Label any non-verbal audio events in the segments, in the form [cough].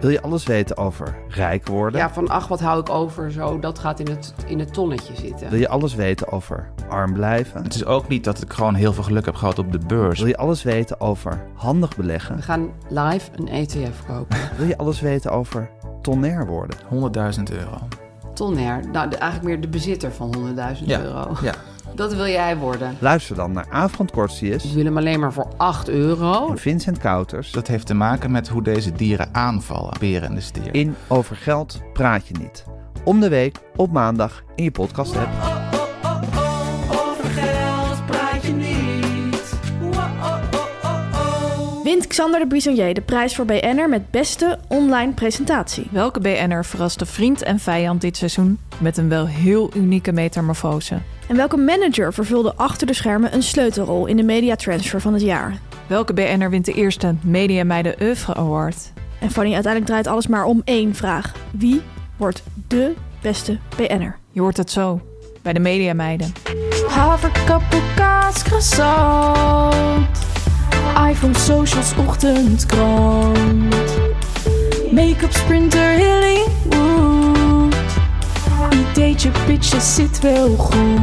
Wil je alles weten over rijk worden? Ja, van ach, wat hou ik over zo, dat gaat in het, in het tonnetje zitten. Wil je alles weten over arm blijven? Het is ook niet dat ik gewoon heel veel geluk heb gehad op de beurs. Wil je alles weten over handig beleggen? We gaan live een ETF [laughs] kopen. Wil je alles weten over tonair worden? 100.000 euro. Tonner, nou de- eigenlijk meer de bezitter van 100.000 Ja, euro. ja. Dat wil jij worden. Luister dan naar Avond Ik Korsius wil hem alleen maar voor 8 euro. en Vincent Kouters. Dat heeft te maken met hoe deze dieren aanvallen. Beren en de stier. In Over Geld praat je niet. Om de week op maandag in je podcast app. Wint Xander de Bisonnier de prijs voor BN'er met beste online presentatie. Welke BN'er verraste vriend en vijand dit seizoen met een wel heel unieke metamorfose? En welke manager vervulde achter de schermen een sleutelrol in de mediatransfer van het jaar? Welke BN'er wint de eerste Media Meiden Oeuvre Award? En Fanny, uiteindelijk draait alles maar om één vraag. Wie wordt de beste BN'er? Je hoort het zo, bij de Media Meiden. Haverkappel, kaas, croissant. iPhone, socials, ochtendkrant. Make-up, sprinter, Hollywood. Ideetje, pitje, zit wel goed.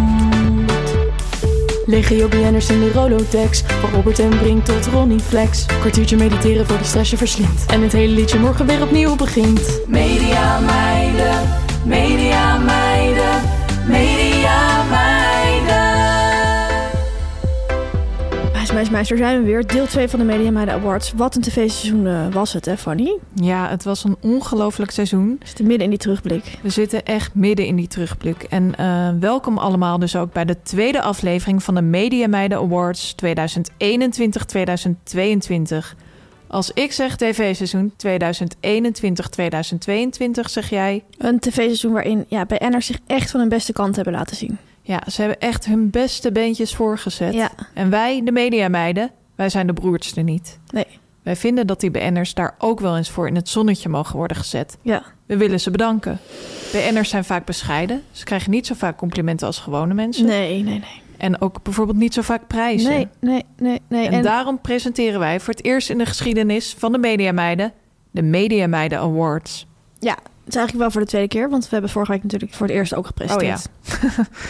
Legio BN'ers in de Rolodex. Van Robert en Brink tot Ronnie Flex. Kwartiertje mediteren voor die stress je verslindt. En het hele liedje morgen weer opnieuw begint. Media meiden, media meiden, media meiden. Meis, meis, meis, daar zijn we weer. Deel 2 van de Media Meiden Awards. Wat een tv-seizoen eh, was het, hè Fanny? Ja, het was een ongelooflijk seizoen. We zitten midden in die terugblik. We zitten echt midden in die terugblik. En eh, welkom allemaal dus ook bij de tweede aflevering van de Media Meiden Awards 2021-2022. Als ik zeg tv-seizoen 2021-2022, zeg jij... Een tv-seizoen waarin ja, BN'ers zich echt van hun beste kant hebben laten zien. Ja, ze hebben echt hun beste beentjes voorgezet. Ja. En wij, de mediameiden, wij zijn de broertste niet. Nee, Wij vinden dat die BN'ers daar ook wel eens voor in het zonnetje mogen worden gezet. ja. We willen ze bedanken. BN'ers zijn vaak bescheiden. Ze krijgen niet zo vaak complimenten als gewone mensen. Nee, nee, nee. En ook bijvoorbeeld niet zo vaak prijzen. Nee, nee, nee, nee. En, daarom presenteren wij voor het eerst in de geschiedenis van de mediameiden... de Mediameiden Awards. Ja, het is eigenlijk wel voor de tweede keer, want we hebben vorige week natuurlijk voor het eerst ook gepresenteerd.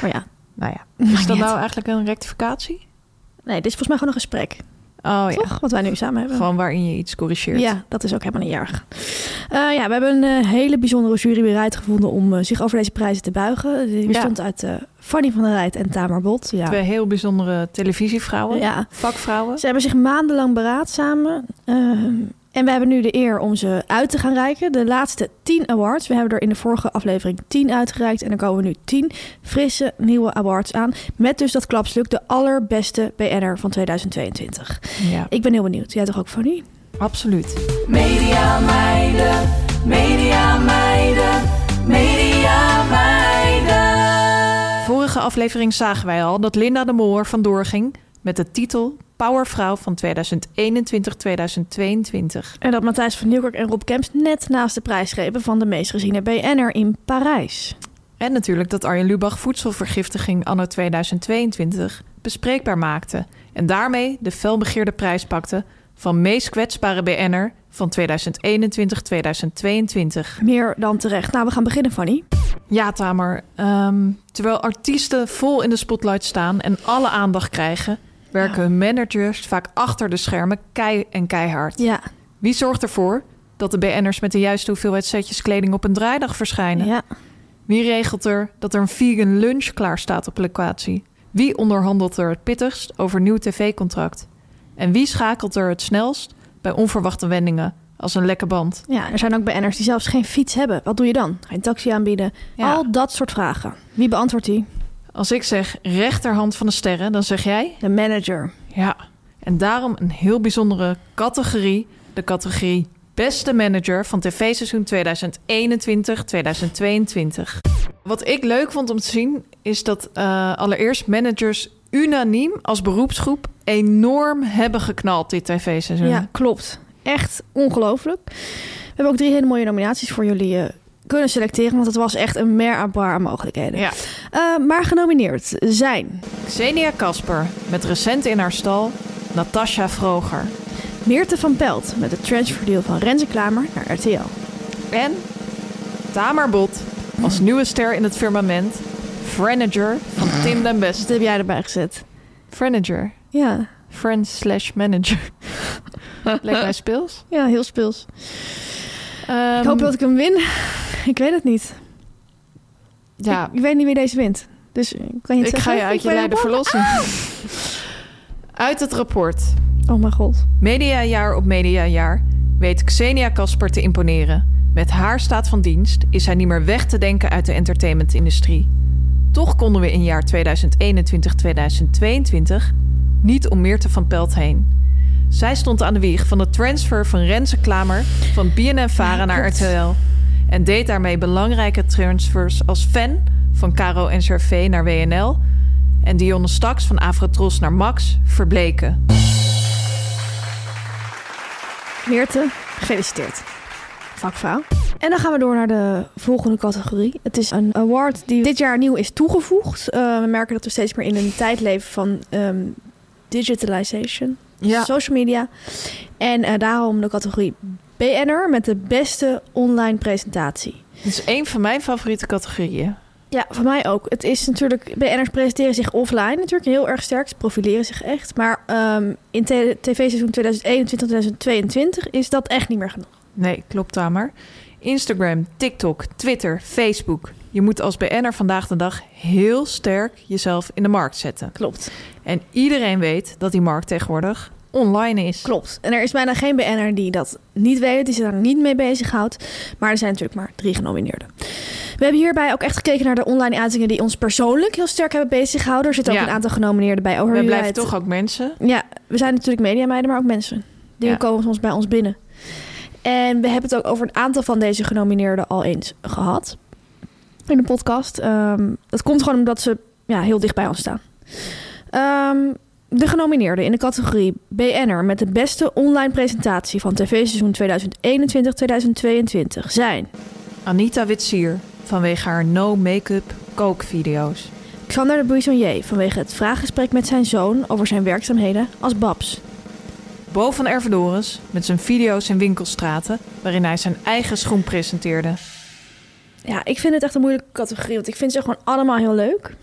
maar ja, Oh [laughs] Nou ja, Maakt is dat niet nou uit. eigenlijk een rectificatie? nee, dit is volgens mij gewoon een gesprek, Oh ja, toch? Wat wij nu samen hebben. gewoon waarin je iets corrigeert. Ja, dat is ook helemaal niet erg. Eh, ja, we hebben een eh, hele bijzondere jury bereid gevonden om eh, zich over deze prijzen te buigen. Die bestond uit eh, Fanny van der Rijt en Tamar Bot. Ja. Twee heel bijzondere televisievrouwen, ja. vakvrouwen. Ze hebben zich maandenlang beraad samen. Ehm, en we hebben nu de eer om ze uit te gaan reiken. De laatste 10 awards. We hebben er in de vorige aflevering 10 uitgereikt. En er komen nu 10 frisse nieuwe awards aan. Met dus dat klapstuk de allerbeste BN'er van 2022. Ja, Ik ben heel benieuwd. Jij toch ook, Fanny? absoluut. Media meiden, media meiden, media meiden. Vorige aflevering zagen wij al dat Linda de Moor vandoor ging met de titel Powervrouw van 2021-2022. En dat Matthijs van Nieuwkerk en Rob Kemps net naast de prijs grepen van de meest geziene BN'er in Parijs. En natuurlijk dat Arjen Lubach voedselvergiftiging anno 2022 bespreekbaar maakte. En daarmee de felbegeerde prijs pakte van meest kwetsbare BN'er van 2021-2022. Meer dan terecht. Nou, we gaan beginnen, Fanny. Ja, Tamer. Ehm, terwijl artiesten vol in de spotlight staan en alle aandacht krijgen, werken hun managers vaak achter de schermen kei en keihard. Ja, Wie zorgt ervoor dat de BN'ers met de juiste hoeveelheid setjes kleding op een draaidag verschijnen? Ja. Wie regelt er dat er een vegan lunch klaar staat op locatie? Wie onderhandelt er het pittigst over nieuw tv-contract? En wie schakelt er het snelst bij onverwachte wendingen als een lekke band? ja, er zijn ook BN'ers die zelfs geen fiets hebben. Wat doe je dan? Ga je een taxi aanbieden? Ja. Al dat soort vragen. Wie beantwoordt die? Als ik zeg rechterhand van de sterren, dan zeg jij De manager. ja. En daarom een heel bijzondere categorie, de categorie beste manager van tv-seizoen 2021-2022. Wat ik leuk vond om te zien is dat eh, allereerst managers unaniem als beroepsgroep enorm hebben geknald dit tv-seizoen. Ja, klopt. Echt ongelooflijk. We hebben ook drie hele mooie nominaties voor jullie eh, kunnen selecteren, want het was echt een meer aan paar aan mogelijkheden. Ja. Eh, maar genomineerd zijn Xenia Kasper met recent in haar stal Natasha Vroger Meerte van Pelt met het transferdeal van Renze Klamer naar RTL. en Tamar Bot als nieuwe ster in het firmament, Franager van Tim den Dus dat Beste. heb jij erbij gezet. Franager, Ja, friend slash [laughs] manager. Lijkt mij speels. ja heel speels. Ehm, ik hoop dat ik hem win. [laughs] ik weet het niet. ja, Ik, ik weet niet wie deze wint. Dus eh, ik kan je het ik zeggen? ga je uit je ben lijden bang. verlossen. [laughs] Uit het rapport Oh mijn god. Mediajaar op mediajaar weet Xenia Kasper te imponeren. Met haar staat van dienst is zij niet meer weg te denken uit de entertainmentindustrie. Toch konden we in jaar 2021-2022 niet om Meerte van Pelt heen. Zij stond aan de wieg van de transfer van Renze Klamer van BNN-Vara naar RTL. En deed daarmee belangrijke transfers als fan van Caro en Cervé naar WNL... en Dionne Staks van Avrotros naar Max verbleken. Meerte, gefeliciteerd. Vakvrouw. En dan gaan we door naar de volgende categorie. Het is een award die dit jaar nieuw is toegevoegd. Eh, we merken dat we steeds meer in een tijd leven van ehm, digitalization, Ja. social media. En eh, daarom de categorie BN'er met de beste online presentatie. Dit is één van mijn favoriete categorieën. Ja, voor mij ook. Het is natuurlijk, BN'ers presenteren zich offline natuurlijk heel erg sterk. Ze profileren zich echt. Maar ehm, in te- tv-seizoen 2021-2022 is dat echt niet meer genoeg. Nee, klopt Tamer. Instagram, TikTok, Twitter, Facebook. Je moet als BN'er vandaag de dag heel sterk jezelf in de markt zetten. Klopt. En iedereen weet dat die markt tegenwoordig online is. Klopt. En er is bijna geen BN'er die dat niet weet, die zich daar niet mee bezighoudt. Maar er zijn natuurlijk maar drie genomineerden. We hebben hierbij ook echt gekeken naar de online uitingen die ons persoonlijk heel sterk hebben bezighouden. Er zitten ook Ja. een aantal genomineerden bij. Over We hoe blijven wij toch het- ook mensen. Ja, we zijn natuurlijk mediameiden, maar ook mensen. Die Ja. komen soms bij ons binnen. En we hebben het ook over een aantal van deze genomineerden al eens gehad. In de podcast. Ehm, dat komt gewoon omdat ze ja, heel dicht bij ons staan. Ehm, de genomineerden in de categorie BN'er met de beste online presentatie van tv-seizoen 2021-2022 zijn... Anita Witsier vanwege haar no make-up kookvideo's. Xander de Buissonnier vanwege het vraaggesprek met zijn zoon over zijn werkzaamheden als Babs. Bo van Ervedoris met zijn video's in winkelstraten waarin hij zijn eigen schoen presenteerde. Ja, ik vind het echt een moeilijke categorie. Want ik vind ze gewoon allemaal heel leuk.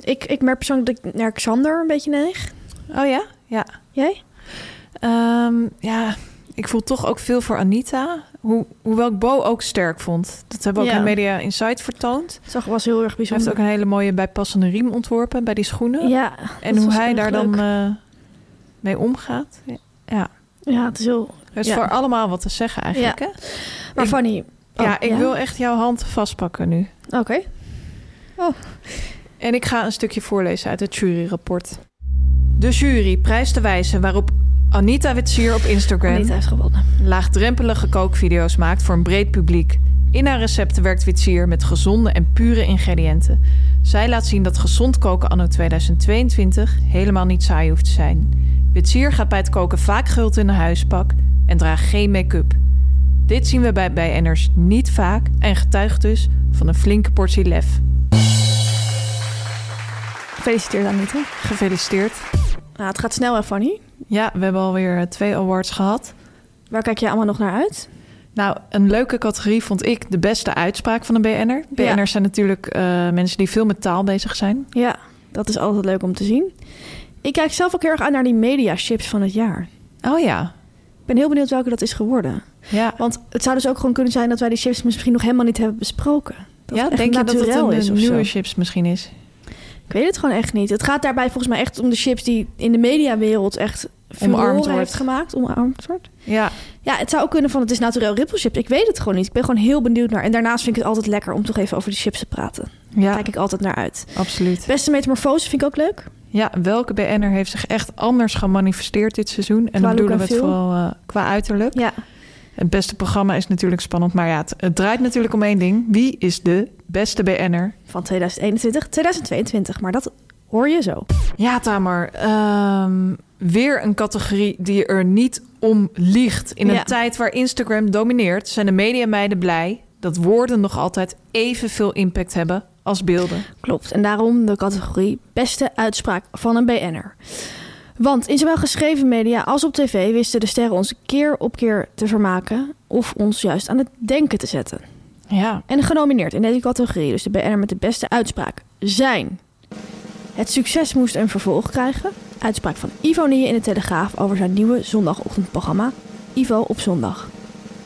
Ik, ik merk persoonlijk dat ik naar Xander een beetje neig. Oh ja? Ja. Jij? Ehm, ja, ik voel toch ook veel voor Anita. Hoe, hoewel ik Bo ook sterk vond. Dat hebben we ook Ja. in Media Insight vertoond. Zag was heel erg Hij heeft bijzonder. ook een hele mooie bijpassende riem ontworpen bij die schoenen. Ja, en dat hoe was hij erg daar dan leuk. eh, mee omgaat. Ja, ja, het is heel... er is Ja. voor allemaal wat te zeggen eigenlijk. Ja, Maar Ik- Fanny... oh, ja ik wil echt jouw hand vastpakken nu. Oké. En ik ga een stukje voorlezen uit het juryrapport. De jury prijst de wijze waarop Anita Witsier op Instagram... Anita heeft gewonnen. laagdrempelige kookvideo's maakt voor een breed publiek. In haar recepten werkt Witsier met gezonde en pure ingrediënten. Zij laat zien dat gezond koken anno 2022 helemaal niet saai hoeft te zijn. Witsier gaat bij het koken vaak gehuld in een huispak en draagt geen make-up. Dit zien we bij BN'ers niet vaak en getuigt dus van een flinke portie lef. Gefeliciteerd Anita. Gefeliciteerd. Nou, het gaat snel hè Fanny. Ja, we hebben alweer eh, twee awards gehad. Waar kijk jij allemaal nog naar uit? Nou, een leuke categorie vond ik de beste uitspraak van een BN'er. BN'ers zijn natuurlijk eh, mensen die veel met taal bezig zijn. Ja, dat is altijd leuk om te zien. Ik kijk zelf ook heel erg uit naar die media chips van het jaar. Oh ja. Ik ben heel benieuwd welke dat is geworden. Ja. Want het zou dus ook gewoon kunnen zijn dat wij die chips misschien nog helemaal niet hebben besproken. Dat ja, het echt denk je dat het naturel een is of zo? nieuwe chips misschien is? Ik weet het gewoon echt niet. Het gaat daarbij volgens mij echt om de chips die in de mediawereld echt Omarmd omarmd wordt. heeft gemaakt. Omarmd wordt. Ja, Ja, het zou ook kunnen van het is naturel rippelchips. Ik weet het gewoon niet. Ik ben gewoon heel benieuwd naar. En daarnaast vind ik het altijd lekker om toch even over de chips te praten. ja Kijk ik altijd naar uit. absoluut. Beste metamorfose vind ik ook leuk. Ja, welke BN'er heeft zich echt anders gemanifesteerd dit seizoen? Qua En dan bedoelen we look het en feel? vooral eh, qua uiterlijk. Ja. Het beste programma is natuurlijk spannend, maar ja, het, het draait natuurlijk om één ding. Wie is de beste BN'er? Van 2021, 2022. Maar dat hoor je zo. Ja, Tamer, ehm, weer een categorie die er niet om liegt. In een Ja. tijd waar Instagram domineert, zijn de mediameiden blij dat woorden nog altijd evenveel impact hebben als beelden. Klopt. En daarom de categorie beste uitspraak van een BN'er. Want in zowel geschreven media als op tv wisten de sterren ons keer op keer te vermaken of ons juist aan het denken te zetten. Ja, En genomineerd in deze categorie, dus de BN'er met de beste uitspraak, zijn... Het succes moest een vervolg krijgen. Uitspraak van Ivo Nieuwe in de Telegraaf over zijn nieuwe zondagochtendprogramma Ivo op zondag.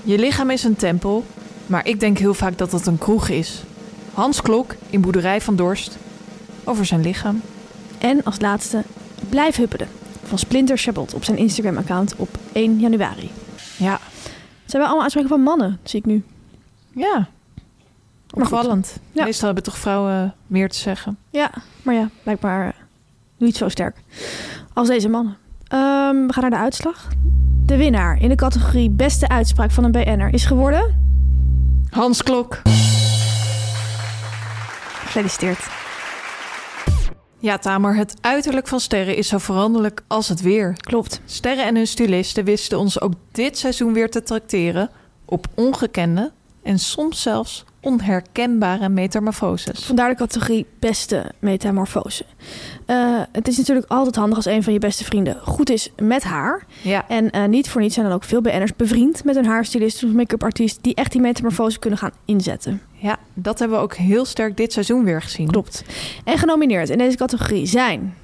Je lichaam is een tempel, maar ik denk heel vaak dat dat een kroeg is. Hans Klok in Boerderij van Dorst over zijn lichaam. En als laatste, blijf huppelen. Van Splinter Chabot op zijn Instagram-account op 1 januari. Ja, Het zijn wel allemaal uitspraken van mannen, zie ik nu. ja. Maar Oh, goed. Opvallend. Ja. Meestal hebben toch vrouwen meer te zeggen. Ja, maar ja, blijkbaar eh, niet zo sterk als deze mannen. Ehm, we gaan naar de uitslag. De winnaar in de categorie beste uitspraak van een BN'er is geworden... Hans Klok. Gefeliciteerd. Ja, Tamer, het uiterlijk van sterren is zo veranderlijk als het weer. Klopt. Sterren en hun stylisten wisten ons ook dit seizoen weer te tracteren op ongekende en soms zelfs onherkenbare metamorfoses. Vandaar de categorie beste metamorfose. Eh, het is natuurlijk altijd handig als een van je beste vrienden goed is met haar. Ja, En eh, niet voor niets zijn dan ook veel BN'ers bevriend met een haarstylist of make-up artiest... die echt die metamorfose kunnen gaan inzetten. ja, dat hebben we ook heel sterk dit seizoen weer gezien. Klopt. En genomineerd in deze categorie zijn...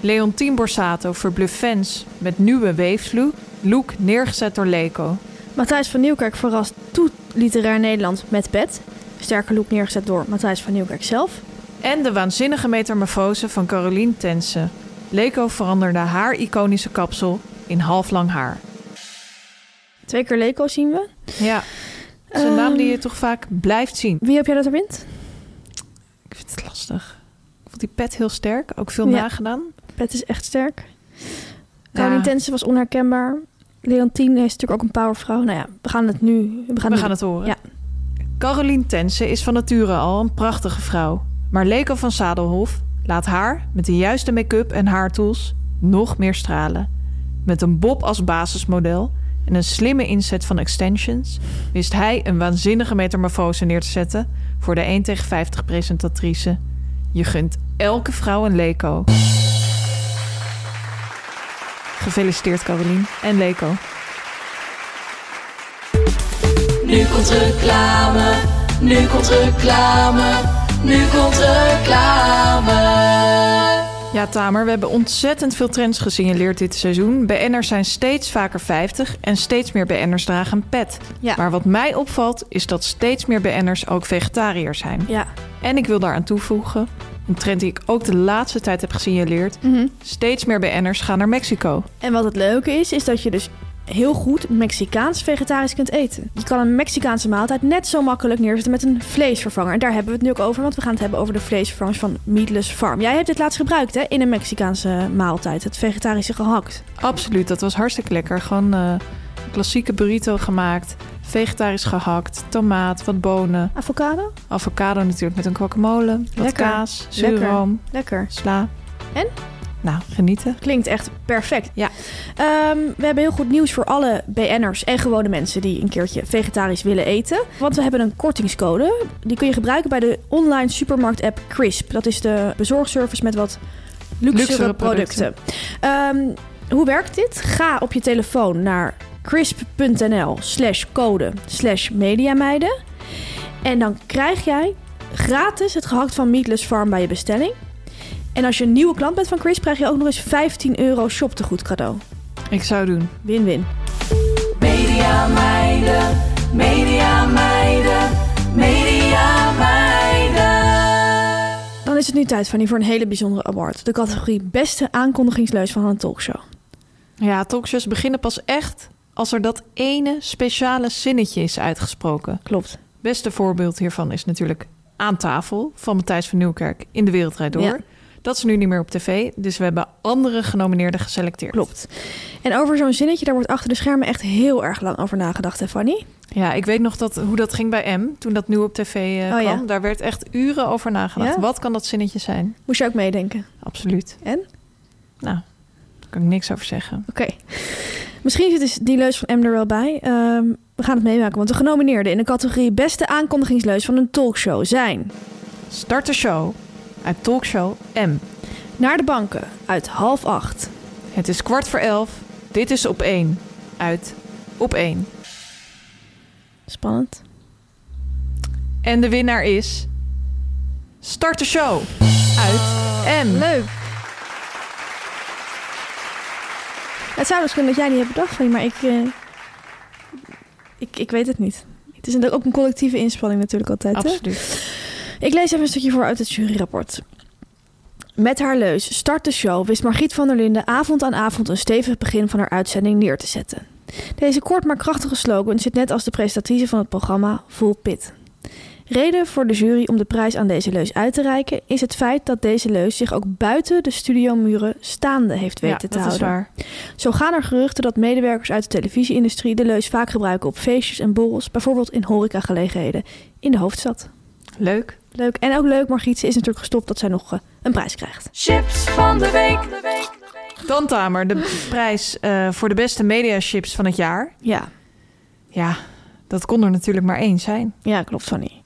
Leontien Borsato verbluft fans met nieuwe weefslook. Look neergezet door Leco. Matthijs van Nieuwkerk verrast toe literair Nederland met pet. Sterke look neergezet door Matthijs van Nieuwkerk zelf. En de waanzinnige metamorfose van Caroline Tensen. Leco veranderde haar iconische kapsel in halflang haar. Twee keer Leko zien we. Ja, dat is een Ehm. naam die je toch vaak blijft zien. Wie heb jij dat er wint? Ik vind het lastig. Ik vond die pet heel sterk, ook veel Ja. nagedaan. Eh, Pet is echt sterk. Caroline Tense was onherkenbaar. Leontien is natuurlijk ook een powervrouw. Nou ja, we gaan het nu... We gaan, We gaan het horen. Ja. Caroline Tense is van nature al een prachtige vrouw. Maar Leko van Zadelhof laat haar met de juiste make-up en haartools nog meer stralen. Met een bob als basismodel en een slimme inzet van extensions wist hij een waanzinnige metamorfose neer te zetten voor de 1 tegen 50 presentatrice. Je gunt elke vrouw een Leko. Gefeliciteerd Caroline en Leko. Nu komt reclame, nu komt reclame, nu komt reclame. Ja, Tamer, we hebben ontzettend veel trends gesignaleerd dit seizoen. BN'ers zijn steeds vaker 50 en steeds meer BN'ers dragen een pet. Ja. Maar wat mij opvalt is dat steeds meer BN'ers ook vegetariër zijn. Ja. En ik wil daaraan toevoegen, een trend die ik ook de laatste tijd heb gesignaleerd. Mhm. Steeds meer BN'ers gaan naar Mexico. En wat het leuke is, is dat je dus heel goed Mexicaans vegetarisch kunt eten. Je kan een Mexicaanse maaltijd net zo makkelijk neerzetten met een vleesvervanger. En daar hebben we het nu ook over, want we gaan het hebben over de vleesvervangers van Meatless Farm. Jij hebt dit laatst gebruikt, hè, in een Mexicaanse maaltijd. Het vegetarische gehakt. Absoluut, dat was hartstikke lekker. Gewoon eh, een klassieke burrito gemaakt, vegetarisch gehakt, tomaat, wat bonen, Avocado? avocado natuurlijk met een guacamole, wat Lekker. kaas, Lekker. zuurroom. Lekker. Sla. En? Nou, genieten. Klinkt echt perfect. Ja. Ehm, we hebben heel goed nieuws voor alle BN'ers en gewone mensen die een keertje vegetarisch willen eten. Want we hebben een kortingscode. Die kun je gebruiken bij de online supermarkt app Crisp. Dat is de bezorgservice met wat luxere, Luxere producten. producten. Ehm, hoe werkt dit? Ga op je telefoon naar crisp.nl slash code slash mediameiden. En dan krijg jij gratis het gehakt van Meatless Farm bij je bestelling. En als je een nieuwe klant bent van Crisp, krijg je ook nog eens 15 euro shoptegoed cadeau. Ik zou doen. Win-win. Media meiden, meiden, media meiden, media meiden. Dan is het nu tijd, Fanny, voor een hele bijzondere award. De categorie Beste aankondigingsleus van een talkshow. Ja, talkshows beginnen pas echt als er dat ene speciale zinnetje is uitgesproken. Klopt. Beste voorbeeld hiervan is natuurlijk Aan tafel van Matthijs van Nieuwkerk in De Wereldrijd Door. Ja. Dat is nu niet meer op tv, dus we hebben andere genomineerden geselecteerd. Klopt. En over zo'n zinnetje, daar wordt achter de schermen echt heel erg lang over nagedacht, hè Fanny? Ja, ik weet nog dat, hoe dat ging bij M, toen dat nu op tv eh, Oh, ja. kwam. Daar werd echt uren over nagedacht. Ja? Wat kan dat zinnetje zijn? Moest je ook meedenken. Absoluut. En? Nou, daar kan ik niks over zeggen. Oké. Misschien zit dus die leus van M er wel bij. Ehm, we gaan het meemaken, want de genomineerden in de categorie Beste aankondigingsleus van een talkshow zijn... Start de show uit Talkshow M. Naar de banken uit half acht. Het is kwart voor elf. Dit is op één. Uit op één. Spannend. En de winnaar is. Start de show! Uit M. Leuk. Het zou dus kunnen dat jij niet hebt bedacht van je, maar ik, eh, ik, ik weet het niet. Het is ook een collectieve inspanning natuurlijk altijd. hè? Absoluut. Ik lees even een stukje voor uit het juryrapport. Met haar leus Start de Show wist Margriet van der Linden avond aan avond een stevig begin van haar uitzending neer te zetten. Deze kort maar krachtige slogan zit net als de prestatrice van het programma vol pit. Reden voor de jury om de prijs aan deze leus uit te reiken is het feit dat deze leus zich ook buiten de studiomuren staande heeft weten te ja, dat houden. is waar. Zo gaan er geruchten dat medewerkers uit de televisieindustrie de leus vaak gebruiken op feestjes en borrels, bijvoorbeeld in horecagelegenheden in de hoofdstad. Leuk. Leuk. En ook leuk, Margriet, ze is natuurlijk gestopt dat zij nog eh, een prijs krijgt. Chips van de week. Dan Tamer, de prijs eh, voor de beste mediachips van het jaar. Ja, Ja, dat kon er natuurlijk maar één zijn. ja klopt, Fanny.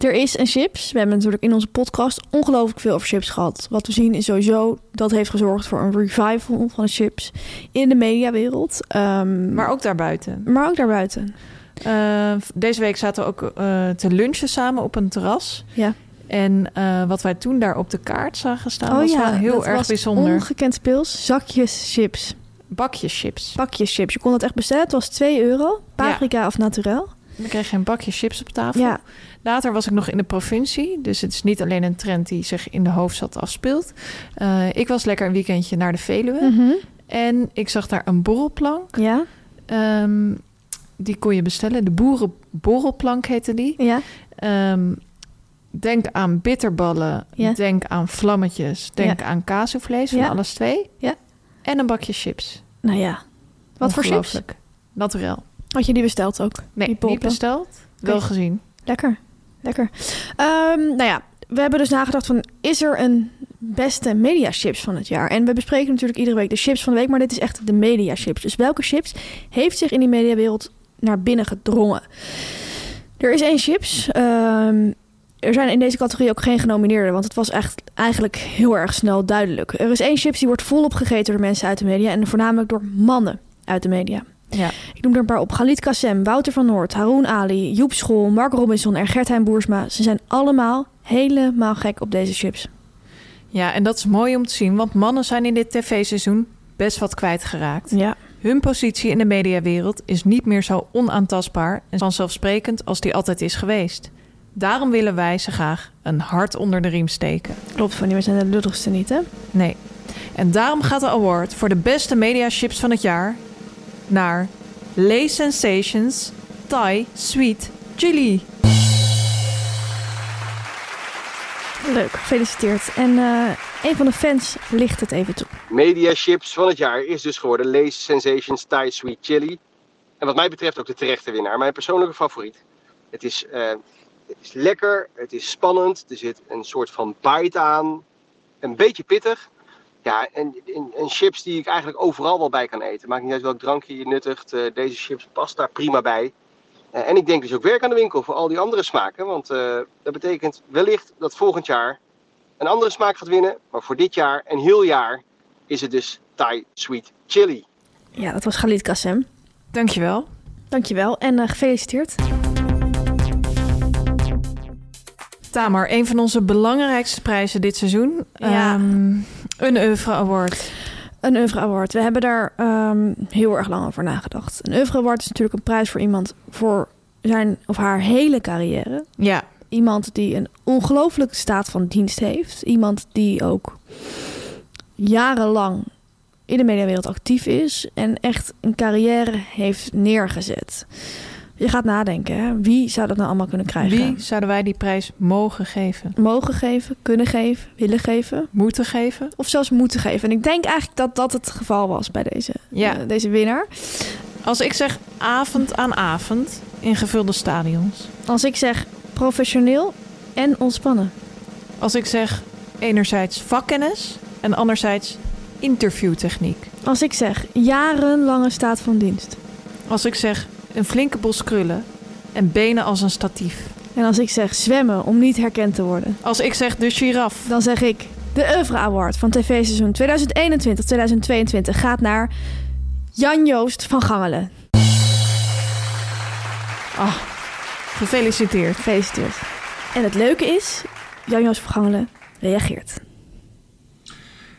Er is een chips. We hebben natuurlijk in onze podcast ongelooflijk veel over chips gehad. Wat we zien is sowieso, dat heeft gezorgd voor een revival van de chips in de mediawereld. Ehm, Maar ook daarbuiten. maar ook daarbuiten. Nou, Eh, deze week zaten we ook eh, te lunchen samen op een terras. Ja. En eh, wat wij toen daar op de kaart zagen staan, was wel Oh heel Oh dat erg was bijzonder. ongekend speels. Zakjes chips, Bakjeschips. pakjes chips. Je kon dat echt bestellen. Het was 2 euro. Paprika of naturel. We kregen een bakje chips op tafel. Ja, Later was ik nog in de provincie. Dus het is niet alleen een trend die zich in de hoofdstad afspeelt. Eh, ik was lekker een weekendje naar de Veluwe. Mhm. En ik zag daar een borrelplank. ja, Ehm, die kon je bestellen. De boerenborrelplank heette die. ja. Ehm, denk aan bitterballen. Ja. Denk aan vlammetjes. Denk aan kazuvlees van Ja. alles twee. Ja. En een bakje chips. Nou ja. Wat voor chips? Ongelooflijk. Naturel. Had je die besteld ook? Nee, Die niet bolpen. besteld. Wel Oké. gezien. Lekker, lekker. Ehm, nou ja, we hebben dus nagedacht van... is er een beste mediachips van het jaar? En we bespreken natuurlijk iedere week de chips van de week... maar dit is echt de mediachips. Dus welke chips heeft zich in die mediawereld naar binnen gedrongen? Er is één chips. Ehm, er zijn in deze categorie ook geen genomineerden... want het was echt, eigenlijk heel erg snel duidelijk. Er is één chips die wordt volop gegeten door mensen uit de media... en voornamelijk door mannen uit de media. Ja. Ik noem er een paar op. Galit Kassem, Wouter van Noord, Haroun Ali, Joep School, Mark Robinson en Gertijn Boersma. Ze zijn allemaal helemaal gek op deze chips. Ja, en dat is mooi om te zien, want mannen zijn in dit tv-seizoen best wat kwijtgeraakt. Ja. Hun positie in de mediawereld is niet meer zo onaantastbaar en vanzelfsprekend als die altijd is geweest. Daarom willen wij ze graag een hart onder de riem steken. Klopt, van die zijn de lulligste niet, hè? Nee. En daarom gaat de award voor de beste mediachips van het jaar naar Lay Sensations Thai Sweet Chili. Leuk, gefeliciteerd. En eh, een van de fans licht het even toe. Media chips van het jaar is dus geworden Lace Sensations Thai Sweet Chili. En wat mij betreft ook de terechte winnaar. Mijn persoonlijke favoriet. Het is, eh, het is lekker, het is spannend. Er zit een soort van bite aan. Een beetje pittig. Ja, en, en, en chips die ik eigenlijk overal wel bij kan eten. Maakt niet uit welk drankje je nuttigt. eh, deze chips past daar prima bij. Eh, en ik denk dus ook werk aan de winkel voor al die andere smaken. Want eh, dat betekent wellicht dat volgend jaar een andere smaak gaat winnen. Maar voor dit jaar en heel jaar is het dus Thai Sweet Chili. Ja, dat was Galit Kassem. Dankjewel. Dankjewel en eh, gefeliciteerd. Tamar, een van onze belangrijkste prijzen dit seizoen. Ja. Ehm, een Euvre Award. Eh, Een Oeuvre Award. We hebben daar ehm, heel erg lang over nagedacht. Een Oeuvre Award is natuurlijk een prijs voor iemand voor zijn of haar hele carrière. Ja, Iemand die een ongelooflijke staat van dienst heeft. Iemand die ook jarenlang in de mediawereld actief is. En echt een carrière heeft neergezet. Je gaat nadenken, hè? wie zou dat nou allemaal kunnen krijgen? wie zouden wij die prijs mogen geven? Mogen geven, kunnen geven, willen geven. Moeten geven? Of zelfs moeten geven. En ik denk eigenlijk dat dat het geval was bij deze, Ja. eh, deze winnaar. Als ik zeg avond aan avond in gevulde stadions. Als ik zeg professioneel en ontspannen. Als ik zeg enerzijds vakkennis en anderzijds interviewtechniek. Als ik zeg jarenlange staat van dienst. Als ik zeg een flinke bos krullen en benen als een statief. En als ik zeg zwemmen om niet herkend te worden. Als ik zeg de giraf. Dan zeg ik, de Oeuvre Award van tv-seizoen 2021-2022 gaat naar Jan-Joost van Gangelen. Gefeliciteerd. Gefeliciteerd. En het leuke is, Jan-Joost van Gangelen reageert.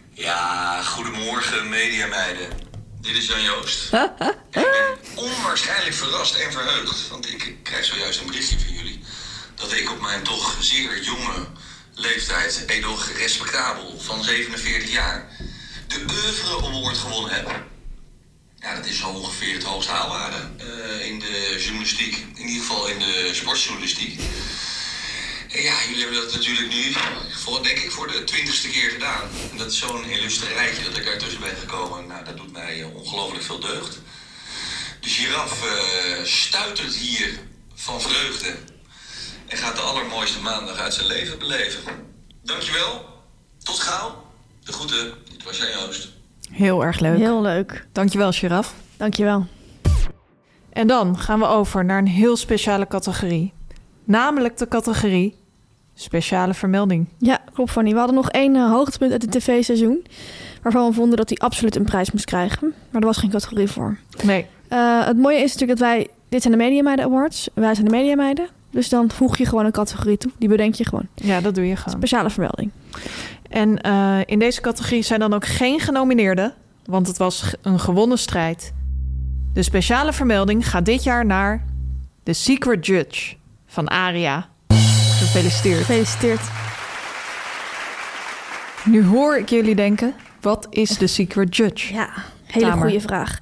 Ja, goedemorgen mediameiden. Dit is Jan Joost. En ik ben onwaarschijnlijk verrast en verheugd, want ik krijg zojuist een berichtje van jullie dat ik op mijn toch zeer jonge leeftijd, edoch respectabel, van 47 jaar, de Oeuvre Award gewonnen heb. Ja, dat is zo ongeveer het hoogste haalwaarde eh, in de journalistiek. In ieder geval in de sportjournalistiek. En Eh, Ja, jullie hebben dat natuurlijk nu, voor, denk ik, voor de twintigste keer gedaan. En dat is zo'n illustre rijtje dat ik daartussen ben gekomen. Nou, dat doet mij eh, ongelooflijk veel deugd. De giraf eh stuitert hier van vreugde. En gaat de allermooiste maandag uit zijn leven beleven. Dankjewel. Tot gauw. De groeten. Dit was Jan Joost. Heel erg leuk. Heel leuk. Dankjewel giraf. Dankjewel. En dan gaan we over naar een heel speciale categorie. Namelijk de categorie speciale vermelding. Ja, klopt Fanny. We hadden nog één eh, hoogtepunt uit het tv-seizoen. Waarvan we vonden dat hij absoluut een prijs moest krijgen. Maar er was geen categorie voor. Nee. Eh, het mooie is natuurlijk dat wij... Dit zijn de Media Meiden Awards. Wij zijn de Media Meiden. Dus dan voeg je gewoon een categorie toe. Die bedenk je gewoon. Ja, dat doe je gewoon. Speciale vermelding. En eh, in deze categorie zijn dan ook geen genomineerden, want het was g- een gewonnen strijd. De speciale vermelding gaat dit jaar naar The Secret Judge van Aria. Gefeliciteerd. Gefeliciteerd. Nu hoor ik jullie denken, wat is The Secret Judge? Ja, hele Tamer. goede vraag.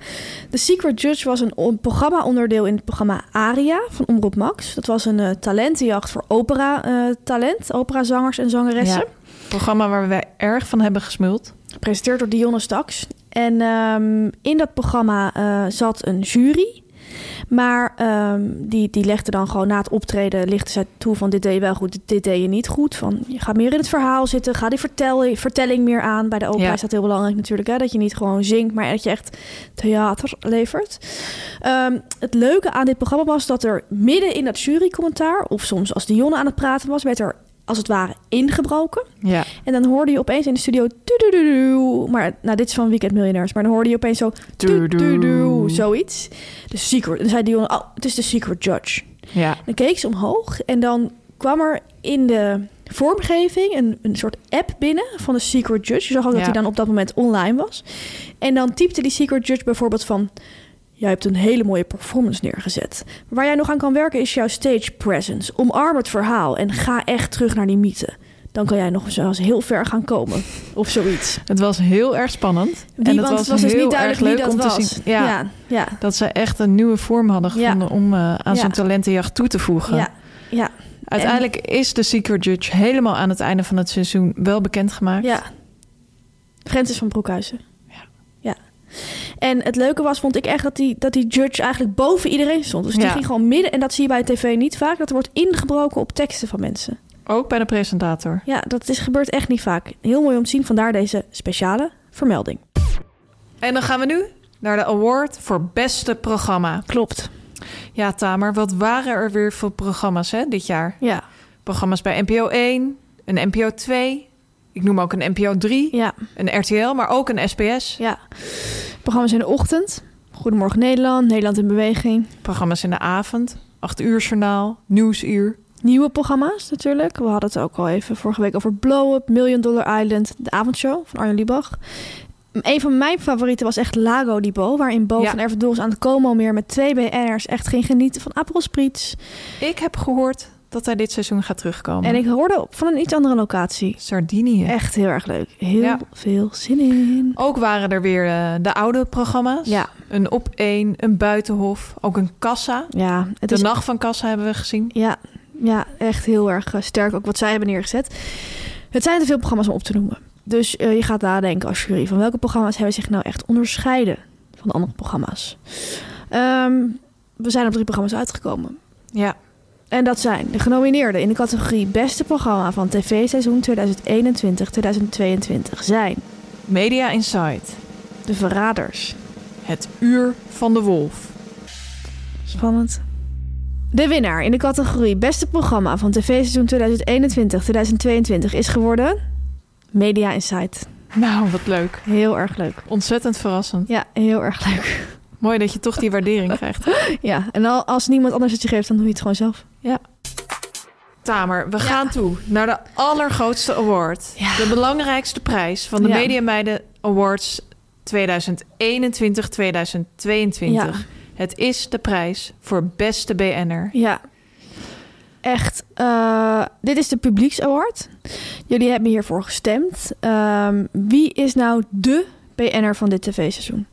The Secret Judge was een on- programma-onderdeel in het programma Aria van Omroep Max. Dat was een eh, talentenjacht voor opera-talent, operazangers en zangeressen. Programma waar wij erg van hebben gesmuld. Gepresenteerd door Dionne Staks. En ehm, in dat programma eh, zat een jury. Maar ehm, die, die legde dan gewoon na het optreden lichten zij toe van dit deed je wel goed, dit, dit deed je niet goed. Van je gaat meer in het verhaal zitten, ga die vertel, vertelling meer aan. Bij de opera Ja. is dat heel belangrijk natuurlijk, hè? dat je niet gewoon zingt, maar dat je echt theater levert. Ehm, het leuke aan dit programma was dat er midden in dat jurycommentaar, of soms als Dionne aan het praten was, werd er als het ware ingebroken. Ja. En dan hoorde je opeens in de studio... tudududu, Maar nou, dit is van Weekend Miljonairs. Maar dan hoorde je opeens zo... tududu, Zoiets. De secret. En dan zei Dion... Oh, het is de secret judge. ja. Dan keek ze omhoog. En dan kwam er in de vormgeving een, een soort app binnen van de secret judge. Je zag ook dat Ja. hij dan op dat moment online was. En dan typte die secret judge bijvoorbeeld van... Jij hebt een hele mooie performance neergezet. Waar jij nog aan kan werken is jouw stage presence. Omarm het verhaal en ga echt terug naar die mythe. Dan kan jij nog zelfs heel ver gaan komen. Of zoiets. Het was heel erg spannend. Die, en het want was, het was dus heel niet duidelijk erg wie leuk dat om was. te zien. Ja, ja, ja, Dat ze echt een nieuwe vorm hadden Ja. gevonden om eh, aan Ja. zo'n talentenjacht toe te voegen. ja, ja. Uiteindelijk is de Secret Judge helemaal aan het einde van het seizoen wel bekendgemaakt. Ja. Francis van Broekhuizen. Ja. En het leuke was, vond ik echt, dat die, dat die judge eigenlijk boven iedereen stond. Dus die Ja. ging gewoon midden, en dat zie je bij tv niet vaak, dat er wordt ingebroken op teksten van mensen. Ook bij de presentator. Ja, dat is, gebeurt echt niet vaak. Heel mooi om te zien, vandaar deze speciale vermelding. En dan gaan we nu naar de award voor beste programma. Klopt. Ja, Tamer, wat waren er weer voor programma's hè, dit jaar? Ja. Programma's bij NPO 1, een NPO 2, ik noem ook een NPO 3, Ja. een RTL, maar ook een SBS. Ja. Programma's in de ochtend. Goedemorgen Nederland, Nederland in beweging. Programma's in de avond, 8 uur journaal, nieuwsuur. Nieuwe programma's natuurlijk. We hadden het ook al even vorige week over Blow Up, Million Dollar Island, de avondshow van Arjen Lubach. Een van mijn favorieten was echt Lago di Bo. Waarin Bo Ja. van Erfdoels aan het Como meer met twee BN'ers echt ging genieten van Aperol Spritz. Ik heb gehoord dat hij dit seizoen gaat terugkomen. En ik hoorde op- van een iets andere locatie. Sardinië. Echt heel erg leuk. Heel Ja. veel zin in. Ook waren er weer eh, de oude programma's. Ja. Een op één, een buitenhof, ook een kassa. Ja, het De is nacht van kassa hebben we gezien. Ja, ja echt heel erg eh, sterk ook wat zij hebben neergezet. Het zijn te veel programma's om op te noemen. Dus eh, je gaat nadenken als jury van welke programma's hebben zich nou echt onderscheiden van de andere programma's. Ehm, we zijn op drie programma's uitgekomen. Ja. En dat zijn de genomineerden in de categorie Beste Programma van TV-seizoen 2021-2022 zijn Media Insight. De Verraders. Het uur van de wolf. Spannend. De winnaar in de categorie Beste Programma van TV-seizoen 2021-2022 is geworden Media Insight. Nou, wat leuk. Heel erg leuk. Ontzettend verrassend. Ja, heel erg leuk. [laughs] Mooi dat je toch die waardering krijgt. Ja, en al- als niemand anders het je geeft, dan doe je het gewoon zelf. Ja. Tamer, we gaan toe naar de allergrootste award. De belangrijkste prijs van de Ja. Media Meiden Awards 2021-2022. Ja. Het is de prijs voor beste BN'er. Ja. Echt. eh, dit is de Publieks Award. Jullie hebben hiervoor gestemd. Ehm, wie is nou de BN'er van dit tv-seizoen?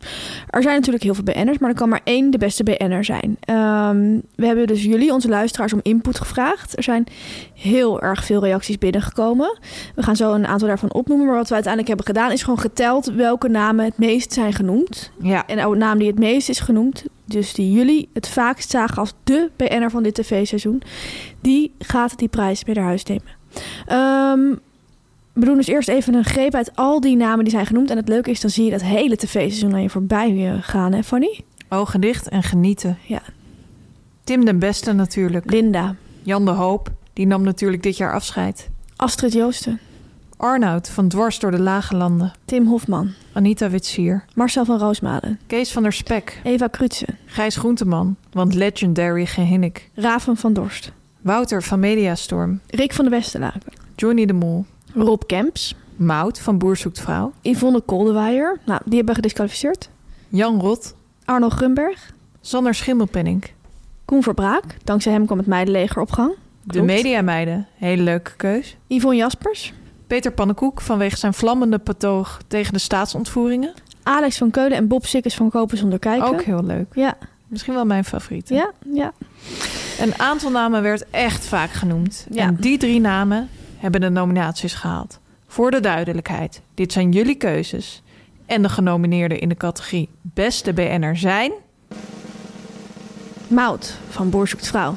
Er zijn natuurlijk heel veel BN'ers, maar er kan maar één de beste BN'er zijn. Ehm, we hebben dus jullie, onze luisteraars, om input gevraagd. Er zijn heel erg veel reacties binnengekomen. We gaan zo een aantal daarvan opnoemen. Maar wat we uiteindelijk hebben gedaan, is gewoon geteld welke namen het meest zijn genoemd. Ja. En de naam die het meest is genoemd, dus die jullie het vaakst zagen als de BN'er van dit tv-seizoen, die gaat die prijs mee naar huis nemen. Ehm, we doen dus eerst even een greep uit al die namen die zijn genoemd. En het leuke is, dan zie je dat hele tv-seizoen aan je voorbij eh, gaan, hè Fanny? Ogen dicht en genieten. Ja. Tim den Beste natuurlijk. Linda, Jan de Hoop, die nam natuurlijk dit jaar afscheid. Astrid Joosten, Arnoud van Dwars door de Lage Landen. Tim Hofman, Anita Witsier. Marcel van Roosmalen, Kees van der Spek. Eva Krutsen, Gijs Groenteman, want legendary gehinnik. Raven van Dorst, Wouter van Mediastorm. Rick van de Westenlaken, Johnny de Mol. Rob Kemps, Mout van Boer Zoekt Vrouw. Yvonne Koldewaaier, nou, die hebben we gedisqualificeerd, Jan Rot. Arno Grunberg, Sander Schimmelpenning. Koen Verbraak, dankzij hem kwam het meidenleger op gang. De Klopt. Mediameiden. Hele leuke keus. Yvonne Jaspers, Peter Pannenkoek vanwege zijn vlammende patoog tegen de staatsontvoeringen. Alex van Keulen en Bob Sikkers van Kopen zonder kijken. Ook heel leuk. Ja, Misschien wel mijn favoriet. ja, ja. Een aantal namen werd echt vaak genoemd. Ja. En die drie namen hebben de nominaties gehaald. Voor de duidelijkheid, dit zijn jullie keuzes. En de genomineerden in de categorie Beste BN'er zijn... Mout van Boer zoekt vrouw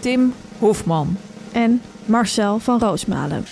Tim Hofman. en Marcel van Roosmalen.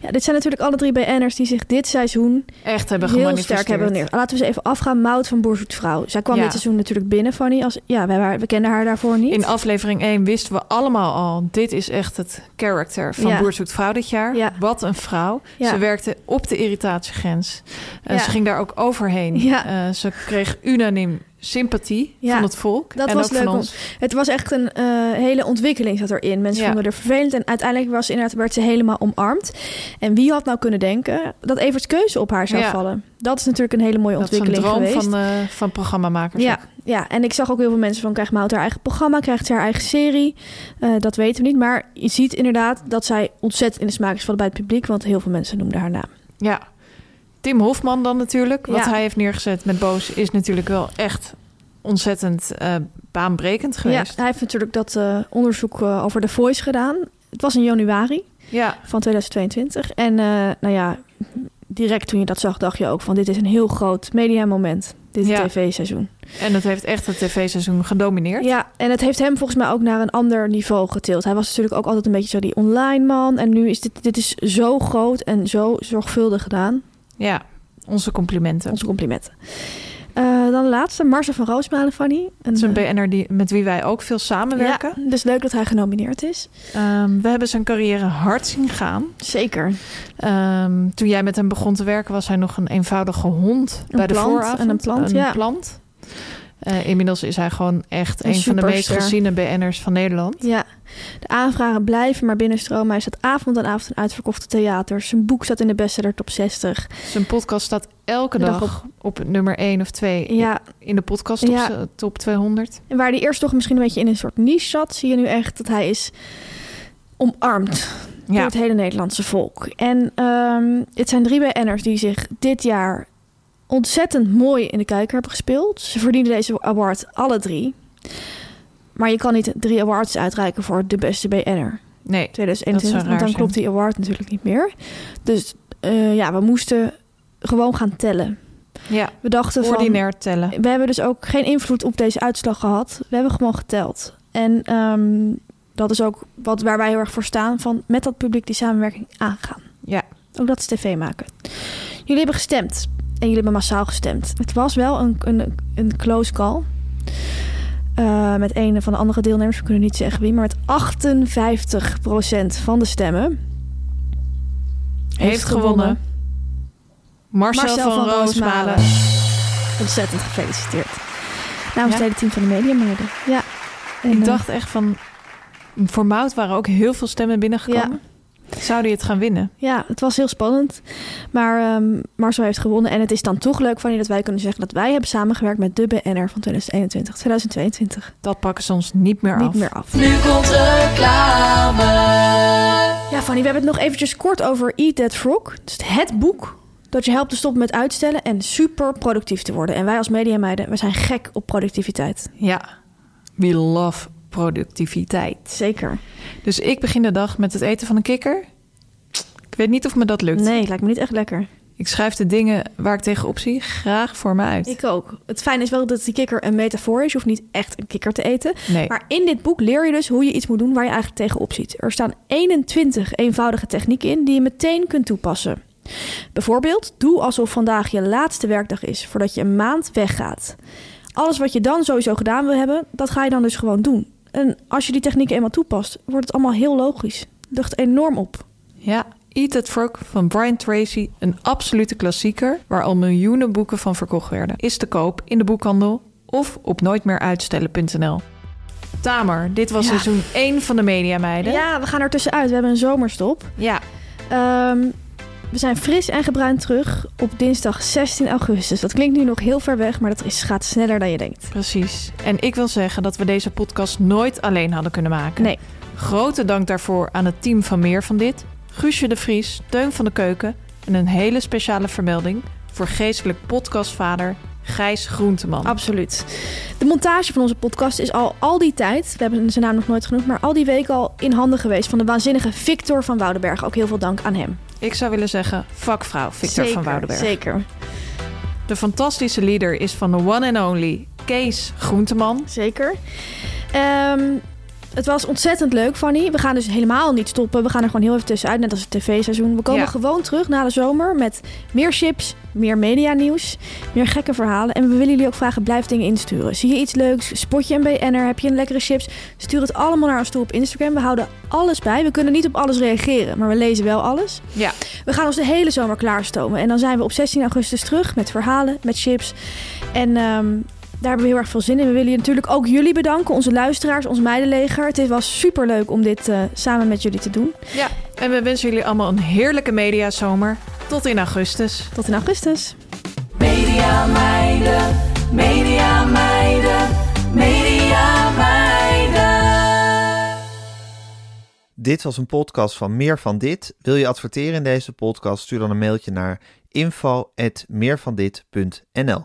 Ja, dit zijn natuurlijk alle drie BN'ers die zich dit seizoen Echt hebben heel gemanifesteerd. sterk hebben neer. Laten we ze even afgaan. Mout van Boer zoekt vrouw. Zij kwam Ja. dit seizoen natuurlijk binnen, Fanny. Als, ja, wij, waren- we kenden haar daarvoor niet. In aflevering 1 wisten we allemaal al... dit is echt het karakter van Ja. Boer zoekt vrouw dit jaar. Ja. Wat een vrouw. Ja. Ze werkte op de irritatiegrens. Eh, Ja. Ze ging daar ook overheen. Ja. Eh, ze kreeg unaniem sympathie Ja. van het volk. Dat en was ook leuk van om- ons. Het was echt een eh, hele ontwikkeling zat erin. Mensen Ja. vonden er vervelend en uiteindelijk was ze inderdaad, werd ze helemaal omarmd. En wie had nou kunnen denken dat Evert's keuze op haar zou Ja. vallen? Dat is natuurlijk een hele mooie Dat is een ontwikkeling droom geweest. van, eh van programmamakers. ja, ook. ja, en ik zag ook heel veel mensen van... krijgt Mout haar eigen programma, krijgt ze haar eigen serie? Eh, dat weten we niet, maar je ziet inderdaad... dat zij ontzettend in de smaak is van bij het publiek... want heel veel mensen noemden haar naam. ja. Tim Hofman dan natuurlijk. Wat Ja. hij heeft neergezet met Boos is natuurlijk wel echt ontzettend eh, baanbrekend geweest. Ja, hij heeft natuurlijk dat eh, onderzoek eh, over The Voice gedaan. Het was in januari. ja. van 2022. En eh, nou ja, direct toen je dat zag, dacht je ook van dit is een heel groot mediamoment. Dit Ja. tv-seizoen. En dat heeft echt het tv-seizoen gedomineerd. Ja, en het heeft hem volgens mij ook naar een ander niveau getild. Hij was natuurlijk ook altijd een beetje zo die online man. En nu is dit, dit is zo groot en zo zorgvuldig gedaan. Ja, onze complimenten. Onze complimenten. Eh, dan de laatste, Marcel van Roosmalen, Fanny. Een, eh, Het is een BN'er die, met wie wij ook veel samenwerken. Ja, dus leuk dat hij genomineerd is. Ehm, we hebben zijn carrière hard zien gaan. Zeker. Ehm, toen jij met hem begon te werken was hij nog een eenvoudige hond bij de plant vooravond. en een plant, een ja. plant. Eh, inmiddels is hij gewoon echt Een een, van de meest superster. geziene BN'ers van Nederland. Ja, de aanvragen blijven maar binnenstromen. Hij staat avond aan avond in uitverkochte theaters. Zijn boek staat in de bestseller top 60. Zijn podcast staat elke Dag dag, op. nummer 1 of 2 Ja, in de podcast top, Ja. top 200. en waar hij eerst toch misschien een beetje in een soort niche zat... zie je nu echt dat hij is omarmd door Ja, het hele Nederlandse volk. En ehm, het zijn drie BN'ers die zich dit jaar ontzettend mooi in de kijker hebben gespeeld. Ze verdienen deze award alle drie. Maar je kan niet drie awards uitreiken voor de beste BN'er. 2021. nee. Dat zou Want dan raar klopt die award natuurlijk niet meer. Dus eh, ja, we moesten gewoon gaan tellen. Ja, We dachten ordinair tellen. van... We hebben dus ook geen invloed op deze uitslag gehad. We hebben gewoon geteld. En ehm, dat is ook wat, waar wij heel erg voor staan. Van met dat publiek die samenwerking aangaan. Ja. Ook dat is tv maken. Jullie hebben gestemd. En jullie hebben massaal gestemd. Het was wel een, een, een close call. Eh, met een van de andere deelnemers. We kunnen niet zeggen wie. Maar met 58% van de stemmen. Heeft gewonnen. Marcel, van, Roosmalen. Ontzettend gefeliciteerd. Namens het Ja. hele team van de mediameiden. Ja. En, Ik eh, dacht echt van... Voor Mout waren ook heel veel stemmen binnengekomen. Zou die het gaan winnen? Ja, het was heel spannend. Maar ehm, Marcel heeft gewonnen. En het is dan toch leuk van je dat wij kunnen zeggen dat wij hebben samengewerkt met de BNR van 2021, 2022. Dat pakken ze ons niet meer af. Niet meer af. Nu komt reclame. Ja, Fanny, we hebben het nog eventjes kort over Eat That Frog. Het is het boek dat je helpt te stoppen met uitstellen en super productief te worden. En wij als mediameiden, we zijn gek op productiviteit. Ja. We love productiviteit. Zeker. Dus ik begin de dag met het eten van een kikker. Ik weet niet of me dat lukt. Nee, lijkt me niet echt lekker. Ik schrijf de dingen waar ik tegenop zie graag voor me uit. Ik ook. Het fijne is wel dat die kikker een metafoor is. Je hoeft niet echt een kikker te eten. Nee. Maar in dit boek leer je dus hoe je iets moet doen waar je eigenlijk tegenop ziet. Er staan 21 eenvoudige technieken in die je meteen kunt toepassen. Bijvoorbeeld, doe alsof vandaag je laatste werkdag is voordat je een maand weggaat. Alles wat je dan sowieso gedaan wil hebben, dat ga je dan dus gewoon doen. En als je die technieken eenmaal toepast, wordt het allemaal heel logisch. Lucht enorm op. Ja, Eat That Frog van Brian Tracy, een absolute klassieker waar al miljoenen boeken van verkocht werden, is te koop in de boekhandel of op nooitmeeruitstellen.nl. Tamer, dit was Ja. seizoen 1 van de Media Meiden. Ja, we gaan er tussenuit. We hebben een zomerstop. Ja, Ehm, we zijn fris en gebruind terug op dinsdag 16 augustus. Dat klinkt nu nog heel ver weg, maar dat is, gaat sneller dan je denkt. precies. En ik wil zeggen dat we deze podcast nooit alleen hadden kunnen maken. Nee. Grote dank daarvoor aan het team van Meer van Dit, Guusje de Vries, Teun van de Keuken en een hele speciale vermelding voor geestelijk podcastvader Gijs Groenteman. Absoluut. De montage van onze podcast is al al die tijd, we hebben zijn naam nog nooit genoemd, maar al die weken al in handen geweest van de waanzinnige Victor van Woudenberg. Ook heel veel dank aan hem. Ik zou willen zeggen, vakvrouw Victor van Zeker, Woudenberg. Zeker, De fantastische leader is van de one and only Kees Groenteman. zeker. Ehm, het was ontzettend leuk, Fanny. We gaan dus helemaal niet stoppen. We gaan er gewoon heel even tussenuit, net als het tv-seizoen. We komen Ja. gewoon terug na de zomer met meer chips, meer media-nieuws, meer gekke verhalen. En we willen jullie ook vragen, blijf dingen insturen. Zie je iets leuks? Spot je een BN'er? Heb je een lekkere chips? Stuur het allemaal naar ons toe op Instagram. We houden alles bij. We kunnen niet op alles reageren, maar we lezen wel alles. Ja. We gaan ons de hele zomer klaarstomen. En dan zijn we op 16 augustus terug met verhalen, met chips. En ehm, daar hebben we heel erg veel zin in. We willen je natuurlijk ook jullie bedanken, onze luisteraars, ons meidenleger. Het was super leuk om dit eh, samen met jullie te doen. ja. En we wensen jullie allemaal een heerlijke mediazomer. Tot in augustus. Tot in augustus. Media meiden, media meiden, media meiden. Dit was een podcast van Meer van Dit. Wil je adverteren in deze podcast? Stuur dan een mailtje naar info.meervandit.nl